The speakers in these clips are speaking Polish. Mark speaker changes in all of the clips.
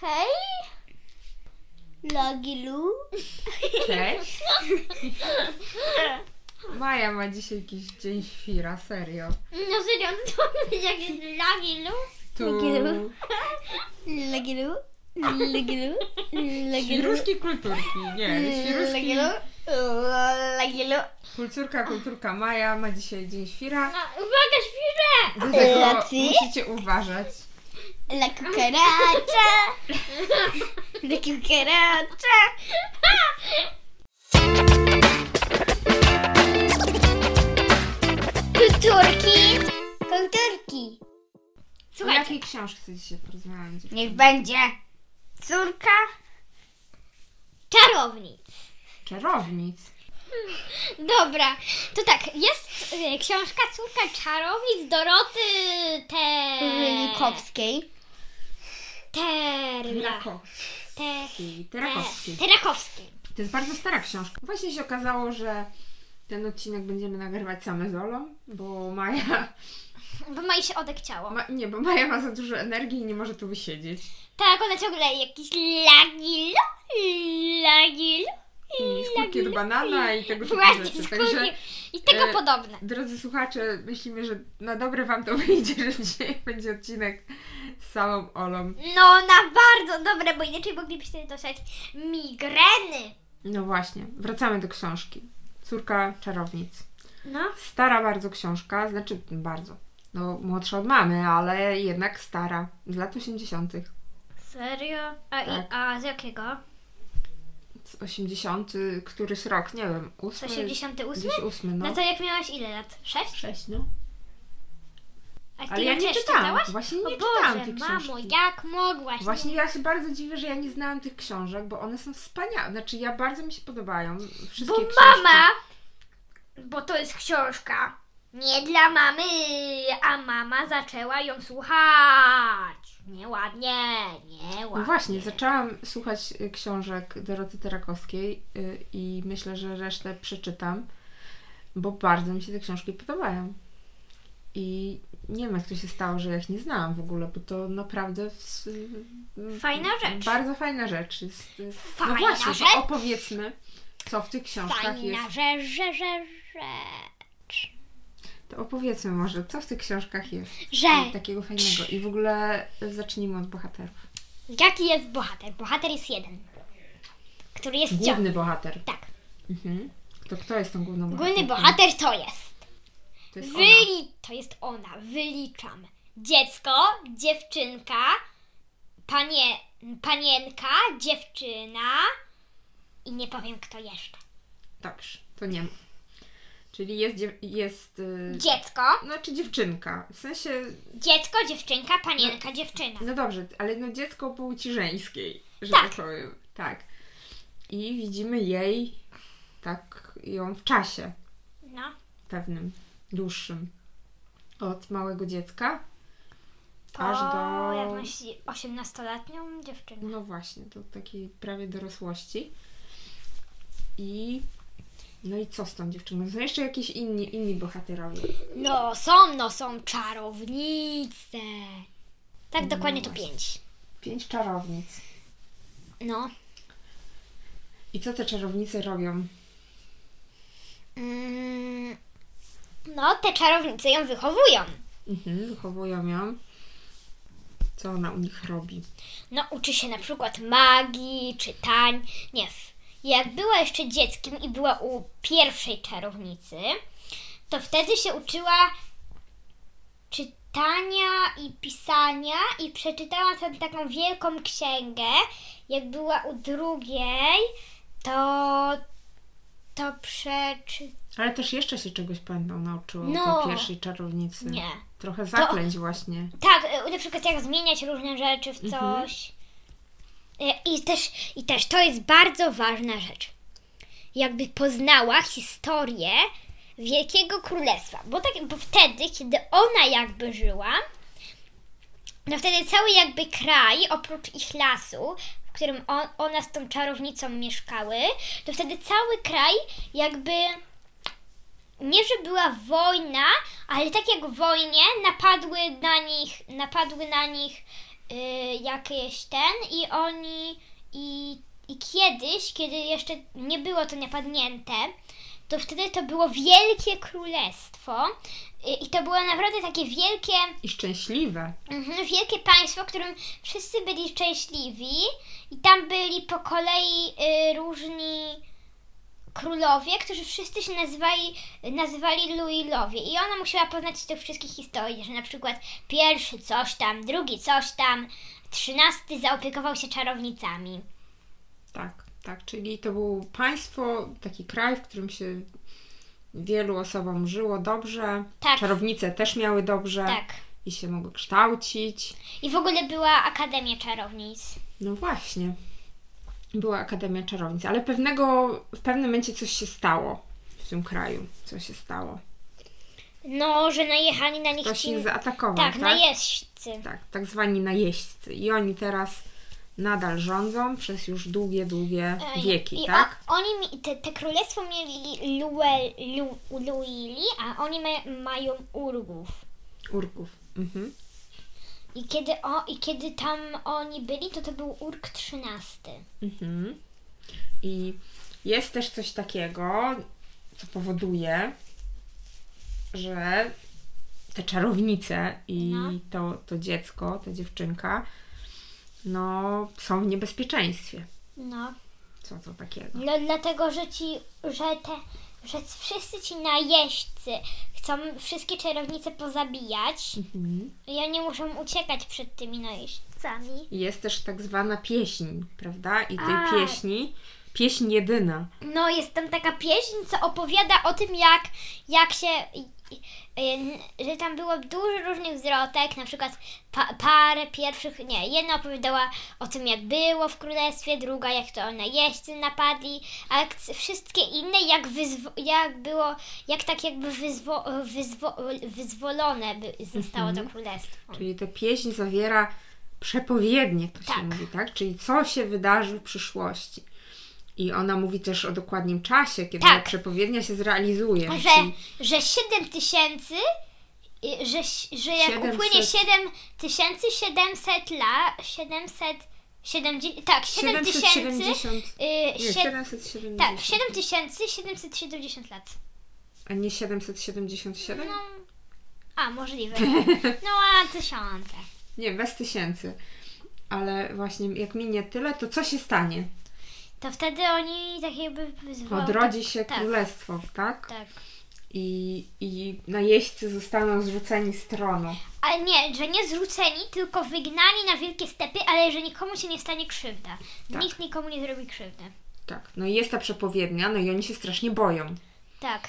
Speaker 1: Hej! Logilu.
Speaker 2: Cześć. Maja ma dzisiaj jakiś dzień świra, serio.
Speaker 1: No serio, to jak jest Logilu?
Speaker 2: Tu
Speaker 1: Jakie- Logilu. Logilu. Logilu.
Speaker 2: świruski kulturki, nie, świruski.
Speaker 1: Logilu. Logilu.
Speaker 2: Kulturka, kulturka Maja ma dzisiaj dzień świra.
Speaker 1: No, uwaga, świrze!
Speaker 2: Dlatego
Speaker 1: Lacy?
Speaker 2: musicie uważać.
Speaker 1: La cucaracha. La cucaracha. Kulturki. Kulturki.
Speaker 2: O jakiej książce dzisiaj porozmawiamy? dziewczyny?
Speaker 1: Niech będzie córka czarownic.
Speaker 2: Czarownic.
Speaker 1: Dobra, to tak, jest y, książka Córka czarownic Doroty Te... Rylikowskiej. Terla.
Speaker 2: Terakowski.
Speaker 1: Te...
Speaker 2: Terakowski.
Speaker 1: Terakowskiej.
Speaker 2: To jest bardzo stara książka. Właśnie się okazało, że ten odcinek będziemy nagrywać same z Olą, bo Maja...
Speaker 1: Bo ma jej się odechciało.
Speaker 2: Ma, nie, bo Maja ma za dużo energii i nie może tu wysiedzieć.
Speaker 1: Tak, ona ciągle jakieś lagilu, lagilu.
Speaker 2: I skórki od banana i tego typu
Speaker 1: Właśnie
Speaker 2: rzeczy.
Speaker 1: skórki
Speaker 2: Także,
Speaker 1: i tego
Speaker 2: e,
Speaker 1: podobne.
Speaker 2: drodzy słuchacze, myślimy, że na dobre Wam to wyjdzie, że dzisiaj będzie odcinek z samą Olą.
Speaker 1: No, na bardzo dobre, bo inaczej moglibyście dostać migreny.
Speaker 2: No właśnie, wracamy do książki. Córka czarownic.
Speaker 1: No.
Speaker 2: Stara bardzo książka, znaczy bardzo. No, młodsza od mamy, ale jednak stara, z lat 80.
Speaker 1: Serio? A,
Speaker 2: Tak.
Speaker 1: i, a z jakiego?
Speaker 2: Z 80. któryś rok, nie wiem,
Speaker 1: Z
Speaker 2: 8.
Speaker 1: 88?
Speaker 2: Gdzieś 8,
Speaker 1: No
Speaker 2: no.
Speaker 1: to jak miałaś ile lat? 6?
Speaker 2: 6, no.
Speaker 1: A ty
Speaker 2: Ale ja
Speaker 1: ją
Speaker 2: nie
Speaker 1: też
Speaker 2: czytałam.
Speaker 1: czytałaś?
Speaker 2: Właśnie
Speaker 1: O
Speaker 2: nie czytałam
Speaker 1: Boże,
Speaker 2: tych
Speaker 1: mamo,
Speaker 2: książki.
Speaker 1: jak mogłaś?
Speaker 2: Właśnie
Speaker 1: Nie-
Speaker 2: ja się bardzo dziwię, że ja nie znałam tych książek, bo one są wspaniałe. Znaczy ja bardzo mi się podobają. Wszystkie
Speaker 1: Bo
Speaker 2: książki.
Speaker 1: mama, bo to jest książka nie dla mamy, a mama zaczęła ją słuchać. Nieładnie,
Speaker 2: No
Speaker 1: nieładnie.
Speaker 2: właśnie, zaczęłam słuchać y, książek Doroty Terakowskiej y, i myślę, że resztę przeczytam, bo bardzo mi się te książki podobają. I nie wiem, jak to się stało, że ja ich nie znałam w ogóle, bo to naprawdę. W, y,
Speaker 1: Fajna rzecz.
Speaker 2: Bardzo fajna rzecz. Jest, y,
Speaker 1: Fajna
Speaker 2: no właśnie,
Speaker 1: rzecz.
Speaker 2: To opowiedzmy, co w tych książkach jest.
Speaker 1: Fajna, że, że, że, że.
Speaker 2: To opowiedzmy może, co w tych książkach jest
Speaker 1: Że.
Speaker 2: takiego fajnego. I w ogóle zacznijmy od bohaterów.
Speaker 1: Jaki jest bohater? Bohater jest jeden, który jest ciągle.
Speaker 2: Główny bohater.
Speaker 1: Tak.
Speaker 2: Mhm. To kto jest tą główną bohaterką?
Speaker 1: Główny bohater to jest.
Speaker 2: To jest ona.
Speaker 1: Wyli... To jest ona, wyliczam. Dziecko, dziewczynka, panie... panienka, dziewczyna i nie powiem kto jeszcze.
Speaker 2: Dobrze, to nie mów. Czyli jest, dziew- jest yy,
Speaker 1: Dziecko,
Speaker 2: znaczy dziewczynka. W sensie,
Speaker 1: dziecko, dziewczynka, panienka, dziewczyna.
Speaker 2: no dobrze, ale no dziecko płci żeńskiej, że
Speaker 1: Tak.
Speaker 2: tak, powiem. Tak. I widzimy jej, tak ją w czasie
Speaker 1: No,
Speaker 2: pewnym, dłuższym. Od małego dziecka
Speaker 1: po
Speaker 2: aż do...
Speaker 1: jakąś 18-letnią dziewczynę.
Speaker 2: No właśnie, do takiej prawie dorosłości. I. No i co z tą dziewczyną? Są jeszcze jakieś inni, inni bohaterowie.
Speaker 1: No są, no są czarownice. Tak
Speaker 2: No
Speaker 1: dokładnie to
Speaker 2: właśnie.
Speaker 1: pięć.
Speaker 2: Pięć czarownic.
Speaker 1: No.
Speaker 2: I co te czarownice robią?
Speaker 1: Mm, no, te czarownice ją wychowują.
Speaker 2: Mhm, wychowują ją. Co ona u nich robi?
Speaker 1: No, uczy się na przykład magii, czytań. Nie. w- Jak była jeszcze dzieckiem i była u pierwszej czarownicy, to wtedy się uczyła czytania i pisania i przeczytała sobie taką wielką księgę. Jak była u drugiej, to to przeczy...
Speaker 2: Ale też jeszcze się czegoś będą nauczyła
Speaker 1: No.
Speaker 2: no. tej pierwszej czarownicy.
Speaker 1: Nie.
Speaker 2: Trochę zaklęć właśnie.
Speaker 1: Tak, y, na przykład jak zmieniać różne rzeczy w
Speaker 2: Mhm.
Speaker 1: coś. Y, I też, I też to jest bardzo ważna rzecz. Jakby poznała historię Wielkiego Królestwa. Bo, tak, bo wtedy, kiedy ona jakby żyła, no wtedy cały jakby kraj, oprócz ich lasu, w którym on, ona z tą czarownicą mieszkały, to wtedy cały kraj jakby nie, że była wojna, ale tak jak w wojnie napadły na nich, napadły na nich y, jakieś ten i oni i, i kiedyś, kiedy jeszcze nie było to napadnięte, to wtedy to było wielkie królestwo y, i to było naprawdę takie wielkie,
Speaker 2: I szczęśliwe.
Speaker 1: mhm, wielkie państwo, w którym wszyscy byli szczęśliwi i tam byli po kolei y, różni królowie, którzy wszyscy się nazywali, nazywali Luilowie i ona musiała poznać tych wszystkich historii, że na przykład pierwszy coś tam, drugi coś tam, trzynasty zaopiekował się czarownicami.
Speaker 2: Tak, tak. Czyli to było państwo, taki kraj, w którym się wielu osobom żyło dobrze.
Speaker 1: Tak.
Speaker 2: Czarownice też miały dobrze
Speaker 1: Tak.
Speaker 2: i się mogły kształcić.
Speaker 1: I w ogóle była Akademia Czarownic.
Speaker 2: No właśnie. Była Akademia Czarownic, ale pewnego, w pewnym momencie coś się stało w tym kraju. Coś się stało.
Speaker 1: No, że najechali na nich
Speaker 2: Ktoś
Speaker 1: ci...
Speaker 2: ich zaatakował,
Speaker 1: Tak,
Speaker 2: tak?
Speaker 1: najeźdźcy.
Speaker 2: tak, tak zwani najeźdźcy. I oni teraz nadal rządzą przez już długie, długie
Speaker 1: Ej,
Speaker 2: wieki,
Speaker 1: E, I
Speaker 2: tak?
Speaker 1: O, oni, mi- te, te królestwo mieli Luel, Lu, Luili, a oni ma, mają Urgów.
Speaker 2: Urków. Mhm.
Speaker 1: I kiedy, o, I kiedy tam oni byli, to to był Urk 13.
Speaker 2: Mhm. I jest też coś takiego, co powoduje, że te czarownice i
Speaker 1: No.
Speaker 2: to, to dziecko, ta dziewczynka, no są w niebezpieczeństwie.
Speaker 1: No,
Speaker 2: Co to takiego?
Speaker 1: no dlatego, że ci, że te, że wszyscy ci najeźdźcy chcą wszystkie czarownice pozabijać
Speaker 2: Mhm.
Speaker 1: i oni muszą uciekać przed tymi najeźdźcami.
Speaker 2: I Jest też tak zwana pieśń, prawda? I tej
Speaker 1: A.
Speaker 2: pieśni, pieśń jedyna.
Speaker 1: No, jest tam taka pieśń, co opowiada o tym, jak, jak się. i- i- że tam było dużo różnych zwrotek, na przykład pa, parę pierwszych. Nie, jedna opowiadała o tym, jak było w królestwie, druga, jak to ona jeźdźcy napadli, a jak c- wszystkie inne, jak, wyzwo, jak było. jak tak jakby wyzwo, wyzwo, wyzwolone by zostało to królestwo.
Speaker 2: Czyli ta pieśń zawiera przepowiednie, to
Speaker 1: Tak.
Speaker 2: się mówi, tak? Czyli co się wydarzy w przyszłości. I ona mówi też o dokładnym czasie, kiedy ta
Speaker 1: Tak.
Speaker 2: przepowiednia się zrealizuje.
Speaker 1: Że,
Speaker 2: Czyli
Speaker 1: że 7 tysięcy, y, że, ś- że jak
Speaker 2: 700.
Speaker 1: upłynie 7 tysięcy 700 lat, 700, 70, tak, 7 tysięcy,
Speaker 2: 770.
Speaker 1: y,
Speaker 2: Nie,
Speaker 1: sie-
Speaker 2: 770.
Speaker 1: tak, 7 tysięcy 770 lat.
Speaker 2: A nie 777?
Speaker 1: No, a możliwe. No, a tysiące.
Speaker 2: Nie, bez tysięcy. Ale właśnie jak minie tyle, to co się stanie?
Speaker 1: To wtedy oni tak jakby wyzwolą.
Speaker 2: Odrodzi się
Speaker 1: tak,
Speaker 2: królestwo, tak?
Speaker 1: Tak.
Speaker 2: I, I najeźdźcy zostaną zrzuceni z tronu.
Speaker 1: Ale nie, że nie zrzuceni, tylko wygnani na wielkie stepy, ale że nikomu się nie stanie krzywda.
Speaker 2: Tak.
Speaker 1: Nikt nikomu nie zrobi krzywdy.
Speaker 2: Tak. No i jest ta przepowiednia, no i oni się strasznie boją.
Speaker 1: Tak.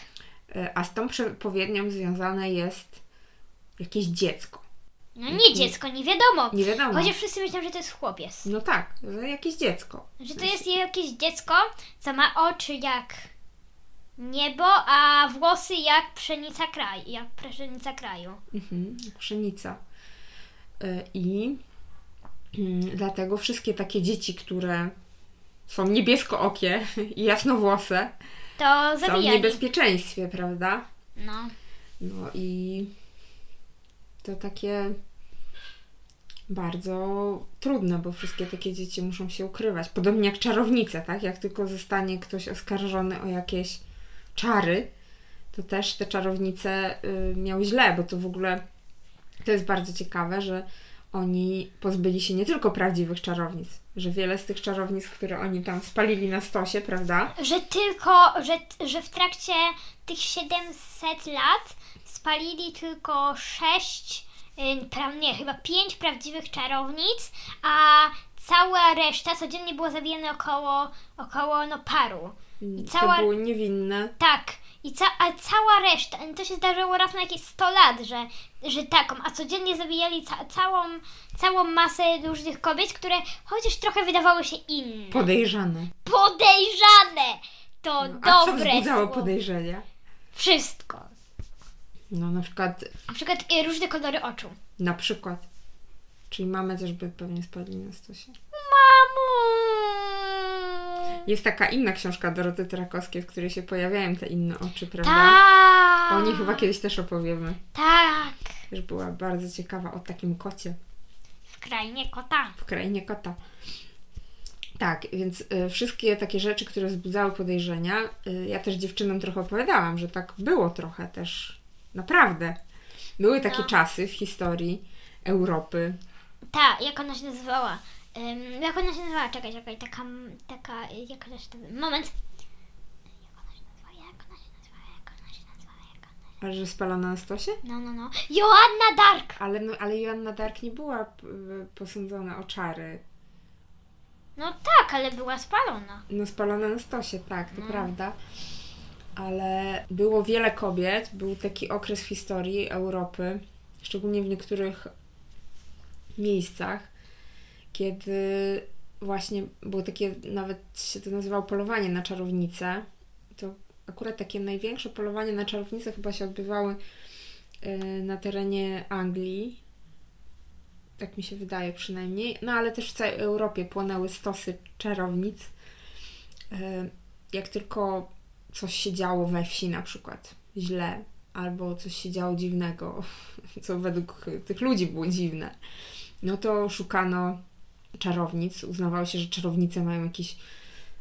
Speaker 2: E, A z tą przepowiednią związane jest jakieś dziecko.
Speaker 1: No nie dziecko, nie wiadomo.
Speaker 2: Nie wiadomo.
Speaker 1: Chociaż wszyscy myślą, że to jest chłopiec.
Speaker 2: No tak, że jakieś dziecko.
Speaker 1: Że to jest jakieś dziecko, co ma oczy jak niebo, a włosy jak pszenica kraju. Jak pszenica kraju.
Speaker 2: Mhm, pszenica. E, I mm, dlatego wszystkie takie dzieci, które są niebieskookie i jasnowłose,
Speaker 1: To
Speaker 2: są w
Speaker 1: zabijali.
Speaker 2: niebezpieczeństwie, prawda?
Speaker 1: No.
Speaker 2: No i to takie bardzo trudne, bo wszystkie takie dzieci muszą się ukrywać. Podobnie jak czarownice, tak? Jak tylko zostanie ktoś oskarżony o jakieś czary, to też te czarownice y, miały źle, bo to w ogóle to jest bardzo ciekawe, że oni pozbyli się nie tylko prawdziwych czarownic, że wiele z tych czarownic, które oni tam spalili na stosie, prawda?
Speaker 1: Że tylko, że, że w trakcie tych 700 lat spalili tylko 6, pra, nie, chyba 5 prawdziwych czarownic, a cała reszta codziennie było zabijane około, około no paru. I cała
Speaker 2: To były niewinne.
Speaker 1: Tak. I ca- a cała reszta, to się zdarzyło raz na jakieś 100 lat, że, że taką, a codziennie zabijali ca- całą, całą masę różnych kobiet, które chociaż trochę wydawały się inne.
Speaker 2: Podejrzane.
Speaker 1: Podejrzane! To
Speaker 2: No, a co
Speaker 1: dobre
Speaker 2: wzbudzało
Speaker 1: słowo.
Speaker 2: podejrzenia?
Speaker 1: Wszystko.
Speaker 2: No na przykład,
Speaker 1: Na przykład y, różne kolory oczu.
Speaker 2: na przykład. Czyli mamy też by pewnie spadli na stosie.
Speaker 1: Mamu!
Speaker 2: Jest taka inna książka Doroty Trakowskiej, w której się pojawiają te inne oczy, prawda?
Speaker 1: Tak!
Speaker 2: O nich chyba kiedyś też opowiemy.
Speaker 1: Tak!
Speaker 2: Też była bardzo ciekawa o takim kocie.
Speaker 1: W krainie kota.
Speaker 2: w krainie kota. Tak, więc y, wszystkie takie rzeczy, które wzbudzały podejrzenia, y, ja też dziewczynom trochę opowiadałam, że tak było trochę też. Naprawdę. Były takie
Speaker 1: No.
Speaker 2: czasy w historii Europy.
Speaker 1: Ta, jak ona się nazywała? Ym, jak ona się nazywała? Czekaj, czekaj, taka, taka, y, jak ona się nazywała? Moment. Jak ona się nazywała? Jak ona się nazywała? Jak ona się nazywała? Jak ona...
Speaker 2: Ale że spalona na stosie?
Speaker 1: No, no, no. Joanna Dark!
Speaker 2: Ale, no, ale Joanna Dark nie była p- y, posądzona o czary.
Speaker 1: No tak, ale była spalona.
Speaker 2: No spalona na stosie, tak, to
Speaker 1: No.
Speaker 2: prawda. Ale było wiele kobiet, był taki okres w historii Europy, szczególnie w niektórych miejscach, kiedy właśnie było takie, nawet się to nazywało polowanie na czarownicę. To akurat takie największe polowanie na czarownicę chyba się odbywały y, na terenie Anglii. Tak mi się wydaje przynajmniej. No ale też w całej Europie płonęły stosy czarownic. E, jak tylko coś się działo we wsi na przykład źle, albo coś się działo dziwnego, co według tych ludzi było dziwne, no to szukano czarownic. Uznawało się, że czarownice mają jakiś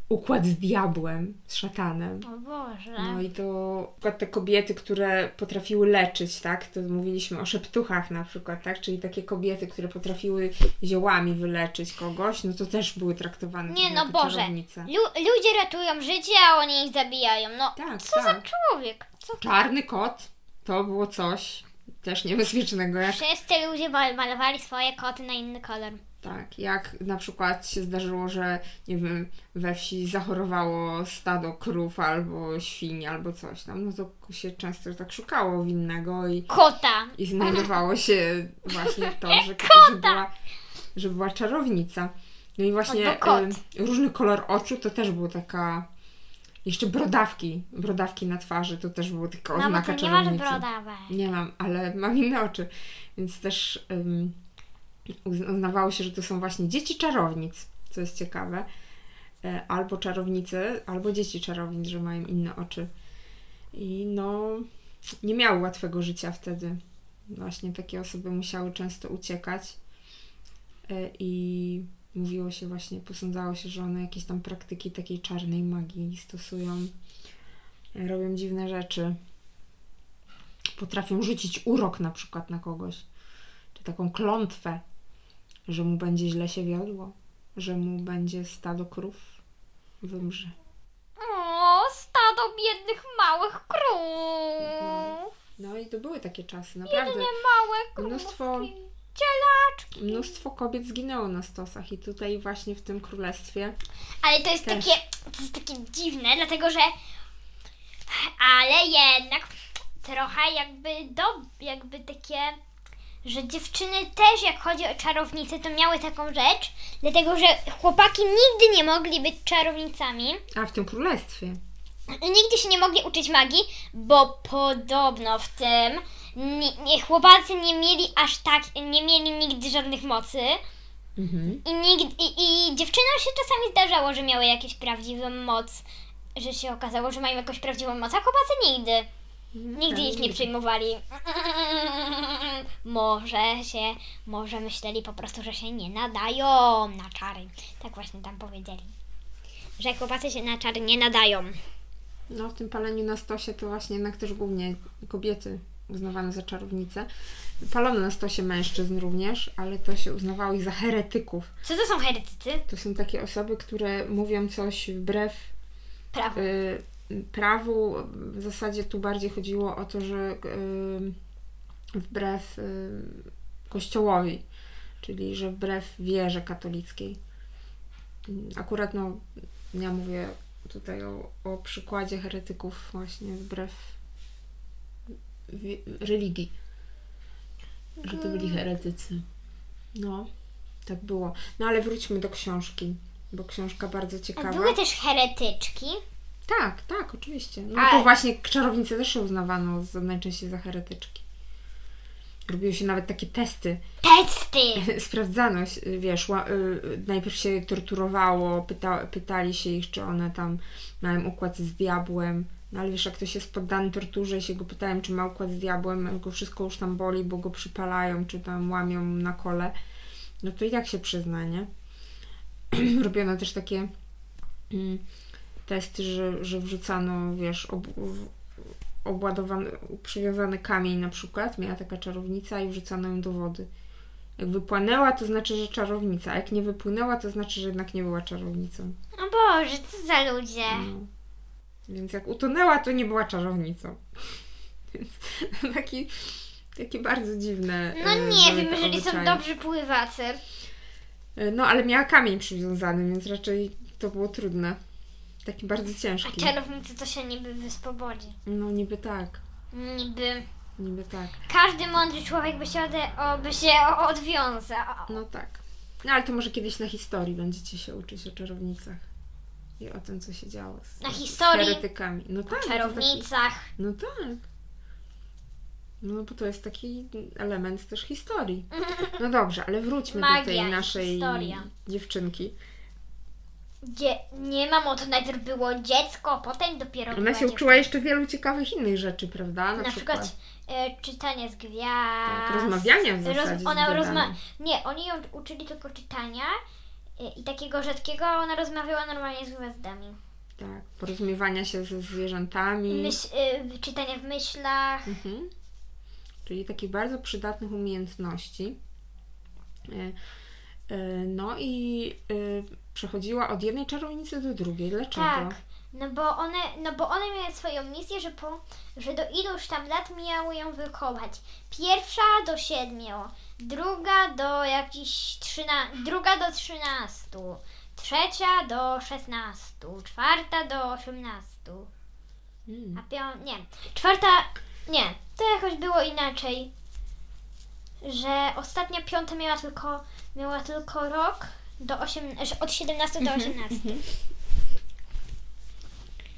Speaker 2: układ z diabłem, z szatanem.
Speaker 1: O Boże.
Speaker 2: No i to na przykład te kobiety, które potrafiły leczyć, tak? To mówiliśmy o szeptuchach na przykład, tak? Czyli takie kobiety, które potrafiły ziołami wyleczyć kogoś, no to też były traktowane
Speaker 1: Nie
Speaker 2: trochę
Speaker 1: no,
Speaker 2: jako
Speaker 1: Boże.
Speaker 2: czarownice.
Speaker 1: Lu- ludzie ratują życie, a oni ich zabijają. No,
Speaker 2: Tak,
Speaker 1: co za
Speaker 2: tak.
Speaker 1: człowiek? Co?
Speaker 2: Czarny kot to było coś też niebezpiecznego, jak,
Speaker 1: Wszyscy ludzie mal- malowali swoje koty na inny kolor.
Speaker 2: tak, jak na przykład się zdarzyło, że nie wiem, we wsi zachorowało stado krów albo świń albo coś tam, no to się często tak szukało winnego i,
Speaker 1: Kota.
Speaker 2: i znajdowało się właśnie to, że, że, była, że była czarownica. No i właśnie
Speaker 1: Albo Tak, kot.
Speaker 2: y, różny kolor oczu to też był taka... Jeszcze brodawki, brodawki na twarzy to też było tylko
Speaker 1: No bo
Speaker 2: oznaka
Speaker 1: ty nie masz
Speaker 2: czarownicy.
Speaker 1: brodawej.
Speaker 2: Nie mam, ale mam inne oczy, więc też um, uznawało się, że to są właśnie dzieci czarownic, co jest ciekawe. E, Albo czarownice, albo dzieci czarownic, że mają inne oczy. I no, nie miały łatwego życia wtedy. Właśnie takie osoby musiały często uciekać E, i mówiło się właśnie, posądzało się, że one jakieś tam praktyki takiej czarnej magii stosują, e, robią dziwne rzeczy potrafią rzucić urok na przykład na kogoś, czy taką klątwę, że mu będzie źle się wiodło, że mu będzie stado krów wymrze.
Speaker 1: O, stado biednych małych krów.
Speaker 2: No i to były takie czasy, naprawdę.
Speaker 1: Biedne małe krówki.
Speaker 2: Mnóstwo,
Speaker 1: Cielaczki.
Speaker 2: mnóstwo kobiet zginęło na stosach i tutaj właśnie w tym królestwie.
Speaker 1: Ale to jest
Speaker 2: Też.
Speaker 1: takie, to jest takie dziwne, dlatego że. Ale jednak trochę jakby do, jakby takie, że dziewczyny też jak chodzi o czarownice, to miały taką rzecz, dlatego że chłopaki nigdy nie mogli być czarownicami,
Speaker 2: A, w tym królestwie.
Speaker 1: nigdy się nie mogli uczyć magii, bo podobno w tym nie, nie, chłopacy nie mieli aż tak, nie mieli nigdy żadnych mocy.
Speaker 2: Mhm.
Speaker 1: I, nigdy, i, I dziewczynom się czasami zdarzało, że miały jakąś prawdziwą moc, że się okazało, że mają jakąś prawdziwą moc, a chłopacy nigdy.
Speaker 2: No,
Speaker 1: Nigdy ich nie przyjmowali. Może się, może myśleli po prostu, że się nie nadają na czary. Tak właśnie tam powiedzieli. Że chłopacy się na czary nie nadają.
Speaker 2: No, w tym paleniu na stosie to właśnie jednak też głównie kobiety uznawane za czarownice. Palono na stosie mężczyzn również, ale to się uznawało ich za heretyków.
Speaker 1: Co to są heretycy?
Speaker 2: To są takie osoby, które mówią coś wbrew
Speaker 1: Prawo.
Speaker 2: y, prawu. W zasadzie tu bardziej chodziło o to, że y, wbrew y, kościołowi, czyli że wbrew wierze katolickiej. Mm, Akurat no, ja mówię tutaj o, o przykładzie heretyków właśnie wbrew wi- religii. Że to
Speaker 1: Mm.
Speaker 2: byli heretycy. No, tak było. No ale wróćmy do książki, bo książka bardzo
Speaker 1: A
Speaker 2: ciekawa.
Speaker 1: były też heretyczki.
Speaker 2: Tak, tak, oczywiście. No
Speaker 1: Ale-
Speaker 2: to właśnie czarownice też się uznawano za, najczęściej za heretyczki. Robiło się nawet takie testy.
Speaker 1: Testy!
Speaker 2: Sprawdzano, się, wiesz, ła, y, y, najpierw się je torturowało, pyta, pytali się ich, czy one tam mają układ z diabłem. No ale wiesz, jak ktoś jest poddany torturze i się go pytałem, czy ma układ z diabłem, go wszystko już tam boli, bo go przypalają, czy tam łamią na kole, No to i tak się przyzna, nie? Robiono też takie mm, testy, że, że wrzucano, wiesz, ob, w- obładowany, przywiązany kamień na przykład, miała taka czarownica i wrzucano ją do wody. Jak wypłynęła, to znaczy, że czarownica, a jak nie wypłynęła, to znaczy, że jednak nie była czarownicą.
Speaker 1: O Boże, co za ludzie.
Speaker 2: No. Więc jak utonęła, to nie była czarownicą. Więc taki, takie bardzo dziwne.
Speaker 1: No
Speaker 2: e,
Speaker 1: nie
Speaker 2: były
Speaker 1: wiem,
Speaker 2: te
Speaker 1: jeżeli są
Speaker 2: obyczaje.
Speaker 1: dobrzy pływacy.
Speaker 2: E, No, ale miała kamień przywiązany, więc raczej to było trudne. Taki bardzo
Speaker 1: A
Speaker 2: ciężki.
Speaker 1: czarownicy to się niby wyspobodzi.
Speaker 2: No niby tak,
Speaker 1: Niby.
Speaker 2: niby tak.
Speaker 1: Każdy mądry człowiek by się, ode, o, by się o- odwiązał.
Speaker 2: No tak. No ale to może kiedyś na historii będziecie się uczyć o czarownicach. I o tym, co się działo z,
Speaker 1: Na historii?
Speaker 2: z heretykami. No tak. to taki-
Speaker 1: czarownicach.
Speaker 2: No tak. No bo to jest taki element też historii. No dobrze, ale wróćmy do
Speaker 1: Magia
Speaker 2: tej
Speaker 1: i
Speaker 2: naszej
Speaker 1: historia.
Speaker 2: dziewczynki.
Speaker 1: Gdzie, nie mamo, to najpierw było dziecko, potem dopiero
Speaker 2: Ona
Speaker 1: była
Speaker 2: się
Speaker 1: dziewczyna.
Speaker 2: uczyła jeszcze wielu ciekawych innych rzeczy, prawda?
Speaker 1: No, Na, przykład, e, czytanie z gwiazd.
Speaker 2: tak, rozmawiania w zasadzie.
Speaker 1: Roz,
Speaker 2: z
Speaker 1: ona
Speaker 2: gadami.
Speaker 1: rozma- Nie, oni ją uczyli tylko czytania e, i takiego rzadkiego, a ona rozmawiała normalnie z gwiazdami.
Speaker 2: Tak, porozumiewania się ze zwierzętami.
Speaker 1: Myśl, e, czytanie w myślach.
Speaker 2: Mhm. Czyli takich bardzo przydatnych umiejętności. E, e, No i e, przechodziła od jednej czarownicy do drugiej. Dlaczego?
Speaker 1: Tak. No bo one, no bo one miały swoją misję, że, po, że do iluż tam lat miały ją wykochać. Pierwsza do siedmiu, druga do jakichś trzyna, druga do trzynastu, trzecia do szesnastu, czwarta do osiemnastu,
Speaker 2: Mm.
Speaker 1: a pią... nie, czwarta, nie, to jakoś było inaczej, że ostatnia piąta miała tylko, miała tylko rok do osiem, że od 17 do 18.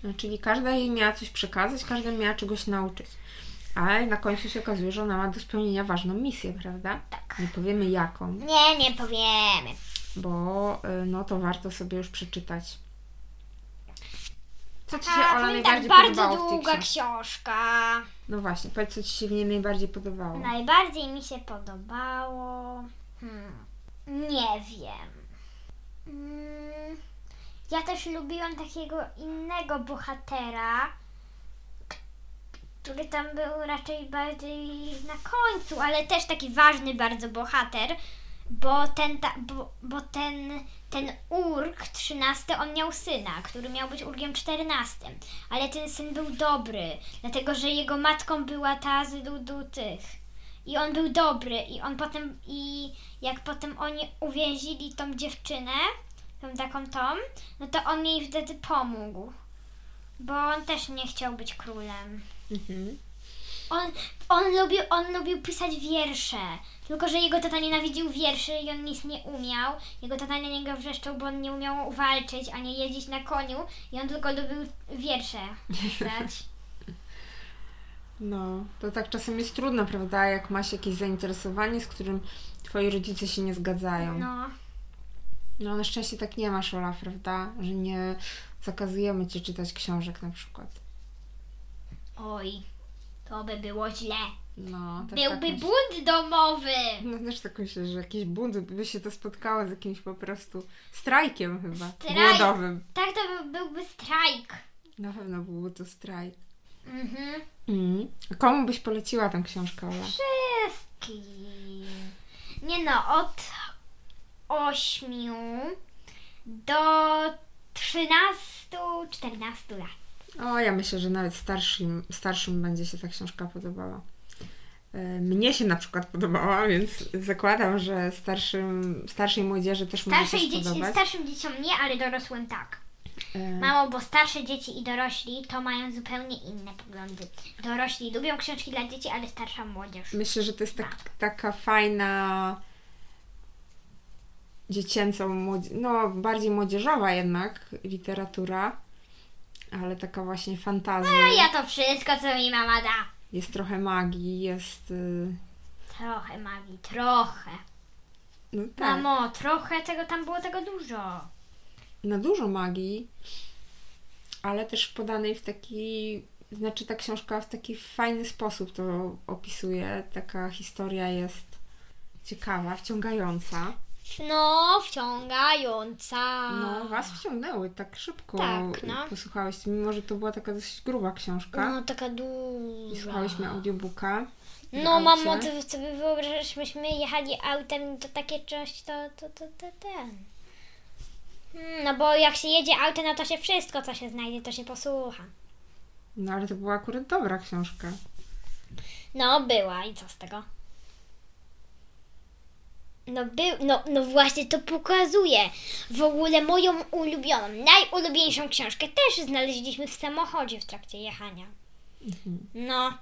Speaker 2: No, czyli każda jej miała coś przekazać, każda miała czegoś nauczyć. Ale na końcu się okazuje, że ona ma do spełnienia ważną misję, prawda?
Speaker 1: Tak.
Speaker 2: Nie powiemy jaką,
Speaker 1: Nie, nie powiemy.
Speaker 2: bo y, no to warto sobie już przeczytać. Co Ci się,
Speaker 1: A,
Speaker 2: Ola,
Speaker 1: powiem
Speaker 2: najbardziej
Speaker 1: tak,
Speaker 2: podobało
Speaker 1: bardzo
Speaker 2: w tej
Speaker 1: długa
Speaker 2: książce?
Speaker 1: książka.
Speaker 2: No właśnie, powiedz, co Ci się w niej najbardziej podobało.
Speaker 1: Najbardziej mi się podobało. Hmm. Nie wiem. Mm, ja też lubiłam takiego innego bohatera, k- który tam był raczej bardziej na końcu, ale też taki ważny bardzo bohater, bo ten, ta, bo, bo ten, ten urk 13, on miał syna, który miał być urgiem 14, ale ten syn był dobry, dlatego że jego matką była ta z tych. I on był dobry i on potem, i jak potem oni uwięzili tą dziewczynę, tą taką Tom, no to on jej wtedy pomógł. Bo on też nie chciał być królem.
Speaker 2: Mhm.
Speaker 1: On, on, lubił, on lubił pisać wiersze, tylko że jego tata nienawidził wierszy i on nic nie umiał. Jego tata na niego wrzeszczał, bo on nie umiał walczyć, a nie jeździć na koniu i on tylko lubił wiersze pisać.
Speaker 2: No, to tak czasem jest trudno, prawda? Jak masz jakieś zainteresowanie, z którym Twoi rodzice się nie zgadzają.
Speaker 1: No.
Speaker 2: No na szczęście tak nie masz, Ola, prawda? Że nie zakazujemy Ci czytać książek na przykład.
Speaker 1: Oj, to by było źle.
Speaker 2: No, też
Speaker 1: Byłby
Speaker 2: tak myślę.
Speaker 1: bunt domowy.
Speaker 2: No też tak myślę, że jakiś bunt by się to spotkało z jakimś po prostu strajkiem chyba.
Speaker 1: Strajk.
Speaker 2: Głodowym.
Speaker 1: Tak, to by, byłby strajk.
Speaker 2: Na pewno byłby to strajk.
Speaker 1: Mhm.
Speaker 2: Mhm. A Komu byś poleciła tę książkę, Ola?
Speaker 1: Wszystkim. Nie no, od 8 do 13, 14 lat.
Speaker 2: O, ja myślę, że nawet starszym, starszym będzie się ta książka podobała. E, Mnie się na przykład podobała, więc zakładam, że starszym, starszej młodzieży też może się
Speaker 1: Starszej dzieci,
Speaker 2: spodobać.
Speaker 1: starszym dzieciom nie, ale dorosłym tak.
Speaker 2: E,
Speaker 1: Mało, bo starsze dzieci i dorośli to mają zupełnie inne poglądy. Dorośli lubią książki dla dzieci, ale starsza młodzież.
Speaker 2: Myślę, że to jest tak, taka fajna dziecięca, młodzie- no bardziej młodzieżowa jednak literatura, ale taka właśnie
Speaker 1: A
Speaker 2: fantazja.
Speaker 1: No ja to wszystko, co mi mama da.
Speaker 2: Jest trochę magii, jest... y,
Speaker 1: Trochę magii, trochę.
Speaker 2: No tak,
Speaker 1: Mamo, trochę tego tam było tego dużo.
Speaker 2: na dużo magii, ale też podanej w taki... Znaczy ta książka w taki fajny sposób to opisuje. Taka historia jest ciekawa, wciągająca.
Speaker 1: no wciągająca.
Speaker 2: No, was wciągnęły tak szybko.
Speaker 1: Tak, no.
Speaker 2: Posłuchałeś, mimo że to była taka dosyć gruba książka.
Speaker 1: No, taka
Speaker 2: I
Speaker 1: duża.
Speaker 2: słuchałyśmy audiobooka. w
Speaker 1: No, mamo,
Speaker 2: aucie.
Speaker 1: ty sobie wyobrażasz, myśmy jechali autem, to takie coś, to, to, to, to ten. Mm, No bo jak się jedzie autem, no to się wszystko, co się znajdzie, to się posłucha.
Speaker 2: No, ale to była akurat dobra książka.
Speaker 1: No, była i co z tego? No, był, no, no właśnie to pokazuje. W ogóle moją ulubioną, najulubieńszą książkę też znaleźliśmy w samochodzie w trakcie jechania.
Speaker 2: Mhm.
Speaker 1: No,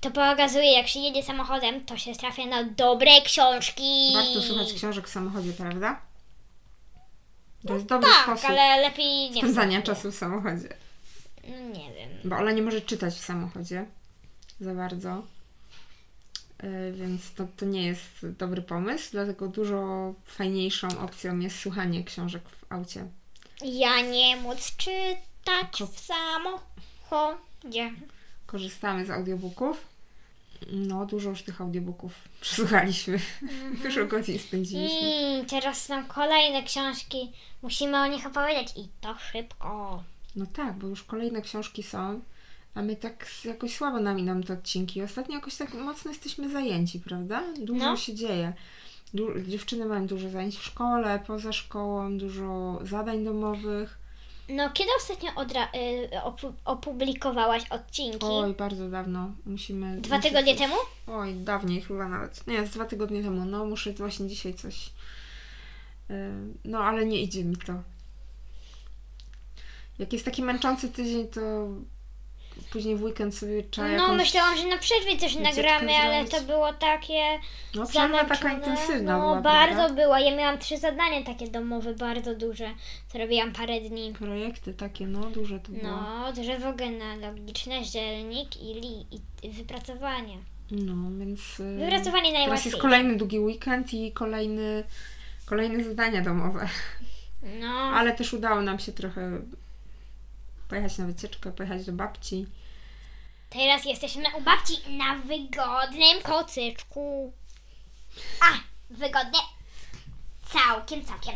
Speaker 1: to pokazuje, jak się jedzie samochodem, to się trafia na dobre książki.
Speaker 2: Warto słuchać książek w samochodzie, prawda? To jest dobry
Speaker 1: Tak,
Speaker 2: sposób
Speaker 1: ale lepiej nie.
Speaker 2: spędzania czasu w samochodzie.
Speaker 1: No, nie wiem.
Speaker 2: Bo Ola nie może czytać w samochodzie za bardzo. Yy, Więc to, to nie jest dobry pomysł, dlatego dużo fajniejszą opcją jest słuchanie książek w aucie.
Speaker 1: Ja nie móc czytać w samochodzie.
Speaker 2: Korzystamy z audiobooków. No, dużo już tych audiobooków przesłuchaliśmy.
Speaker 1: Mhm.
Speaker 2: Dużo godzin spędziliśmy.
Speaker 1: Mm, teraz są kolejne książki. Musimy o nich opowiadać i to szybko.
Speaker 2: No tak, bo już kolejne książki są, a my tak s- jakoś słabo nami nam te odcinki. Ostatnio jakoś tak mocno jesteśmy zajęci, prawda? Dużo
Speaker 1: No.
Speaker 2: się dzieje. Du- dziewczyny mają dużo zajęć w szkole, poza szkołą, dużo zadań domowych.
Speaker 1: No, kiedy ostatnio odra- y, opu- opublikowałaś odcinki?
Speaker 2: Oj, bardzo dawno. Musimy.
Speaker 1: Dwa
Speaker 2: muszę
Speaker 1: tygodnie
Speaker 2: coś-
Speaker 1: temu?
Speaker 2: Oj, dawniej chyba nawet. Nie, z dwa tygodnie temu. No, muszę właśnie dzisiaj coś. yy, No, ale nie idzie mi to. Jak jest taki męczący tydzień, to później w weekend sobie trzeba
Speaker 1: No,
Speaker 2: jakąś...
Speaker 1: myślałam, że na przerwie też
Speaker 2: wycieczkę
Speaker 1: nagramy, ale
Speaker 2: zrobić.
Speaker 1: to było takie
Speaker 2: No, przerwa
Speaker 1: zamęczone.
Speaker 2: taka intensywna tak?
Speaker 1: No,
Speaker 2: była,
Speaker 1: bardzo
Speaker 2: prawda?
Speaker 1: była. Ja miałam trzy zadania takie domowe, bardzo duże. Zrobiłam parę dni.
Speaker 2: Projekty takie, no, duże to było. No.
Speaker 1: No, drzewo genealogiczne, zielnik i, li, i wypracowanie.
Speaker 2: więc... yy,
Speaker 1: Wypracowanie
Speaker 2: Teraz
Speaker 1: najłatwiej.
Speaker 2: jest kolejny długi weekend i kolejny, kolejne zadania domowe.
Speaker 1: No,
Speaker 2: Ale też udało nam się trochę pojechać na wycieczkę, pojechać do babci.
Speaker 1: teraz jesteśmy u babci na wygodnym kocyczku. A, wygodnie. Całkiem, całkiem.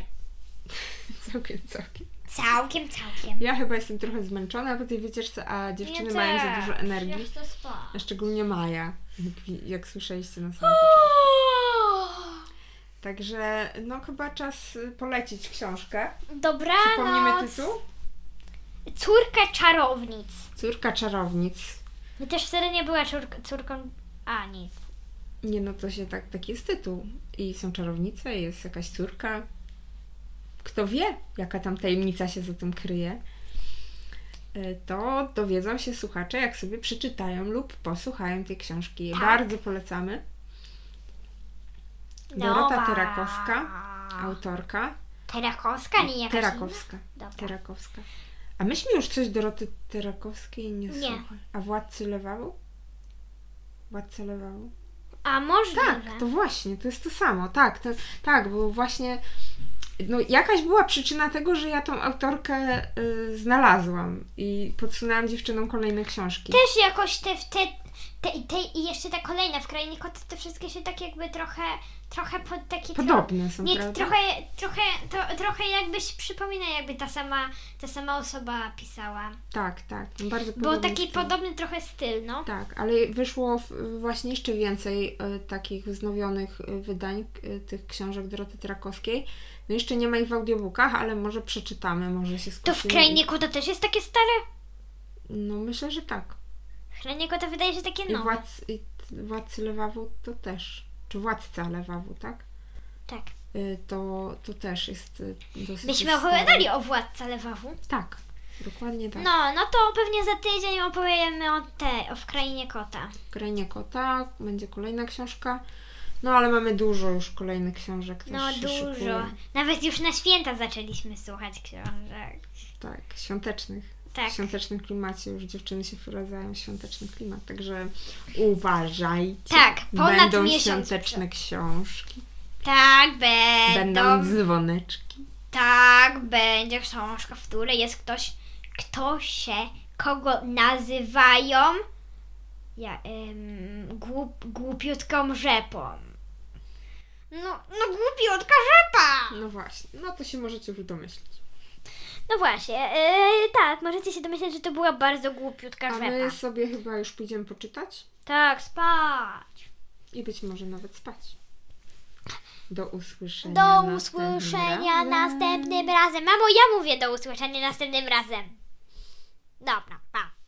Speaker 2: Całkiem, całkiem.
Speaker 1: Całkiem, całkiem.
Speaker 2: Ja chyba jestem trochę zmęczona po tej wycieczce, a dziewczyny
Speaker 1: Ja
Speaker 2: mają za
Speaker 1: też.
Speaker 2: dużo energii.
Speaker 1: Ja chcę spać.
Speaker 2: A szczególnie Maja, jak, wi- jak słyszeliście na samym początku. Także no chyba czas y, polecić książkę. Przypomnimy
Speaker 1: Dobranoc.
Speaker 2: tytuł.
Speaker 1: Córka czarownic.
Speaker 2: Córka czarownic.
Speaker 1: No też wtedy nie była córk- córką... A, nic.
Speaker 2: Nie no, to się tak, taki jest tytuł. I są czarownice, i jest jakaś córka. Kto wie, jaka tam tajemnica się za tym kryje. Y, To dowiedzą się słuchacze, jak sobie przeczytają lub posłuchają tej książki.
Speaker 1: Tak.
Speaker 2: Bardzo polecamy. Dorota Tyrakowska, autorka.
Speaker 1: Terakowska? Nie, jakaś
Speaker 2: Tyrakowska.
Speaker 1: inna? Dobra.
Speaker 2: Tyrakowska. A myśmy już coś Doroty Tyrakowskiej nie,
Speaker 1: Nie.
Speaker 2: słuchali. A Władcy Lewału? Władcy Lewału?
Speaker 1: A może?
Speaker 2: Tak, to właśnie, to jest to samo. Tak, to, tak, bo właśnie no, jakaś była przyczyna tego, że ja tą autorkę y, znalazłam i podsunęłam dziewczynom kolejne książki.
Speaker 1: Też jakoś te, w te, te, i te i jeszcze te kolejne w Krainie Kotów, te wszystkie się tak jakby trochę, trochę pod takie...
Speaker 2: Podobne są,
Speaker 1: Nie,
Speaker 2: prawda?
Speaker 1: trochę, trochę, to, trochę jakbyś przypomina, jakby ta sama, ta sama osoba pisała.
Speaker 2: Tak, tak. no Bardzo
Speaker 1: Bo
Speaker 2: podobny
Speaker 1: taki
Speaker 2: styl.
Speaker 1: podobny trochę styl, no.
Speaker 2: Tak, ale wyszło w, właśnie jeszcze więcej e, takich wznowionych e, wydań e, tych książek Doroty Trakowskiej. No jeszcze nie ma ich w audiobookach, ale może przeczytamy, może się
Speaker 1: To
Speaker 2: skupimy.
Speaker 1: w Krainie Kota też jest takie stare?
Speaker 2: No myślę, że tak.
Speaker 1: W Krainie Kota wydaje się takie no.
Speaker 2: I
Speaker 1: nowe.
Speaker 2: władz, i t- Władcy Lewawu to też, czy Władca Lewawu, tak?
Speaker 1: Tak.
Speaker 2: E, To, to też jest e, dosyć
Speaker 1: Byśmy
Speaker 2: stary.
Speaker 1: opowiadali o Władca Lewawu.
Speaker 2: Tak, dokładnie tak.
Speaker 1: No, no to pewnie za tydzień opowiemy o te, o w Krainie Kota.
Speaker 2: Krainie Kota, będzie kolejna książka. No ale mamy dużo już kolejnych książek. Też
Speaker 1: No
Speaker 2: się
Speaker 1: dużo.
Speaker 2: Szykuje.
Speaker 1: Nawet już na święta zaczęliśmy słuchać książek.
Speaker 2: Tak, świątecznych.
Speaker 1: Tak.
Speaker 2: w świątecznym klimacie już dziewczyny się wprowadzają w świąteczny klimat, także uważajcie.
Speaker 1: Tak, ponad
Speaker 2: Będą
Speaker 1: miesiąc
Speaker 2: świąteczne książki,
Speaker 1: Tak, będą.
Speaker 2: będą dzwoneczki.
Speaker 1: Tak, będzie książka, w której jest ktoś, kto się, kogo nazywają ja, ym, głup, głupiutką rzepą. No, no głupiutka rzepa!
Speaker 2: No właśnie, no to się możecie już domyślić.
Speaker 1: No właśnie, e, tak, możecie się domyśleć, że to była bardzo głupiutka
Speaker 2: A
Speaker 1: rzepa.
Speaker 2: my sobie chyba już pójdziemy poczytać
Speaker 1: Tak, spać.
Speaker 2: i być może nawet spać. Do usłyszenia.
Speaker 1: Do
Speaker 2: następnym
Speaker 1: usłyszenia
Speaker 2: razem.
Speaker 1: następnym razem. Mamo, ja mówię do usłyszenia następnym razem. Dobra, pa.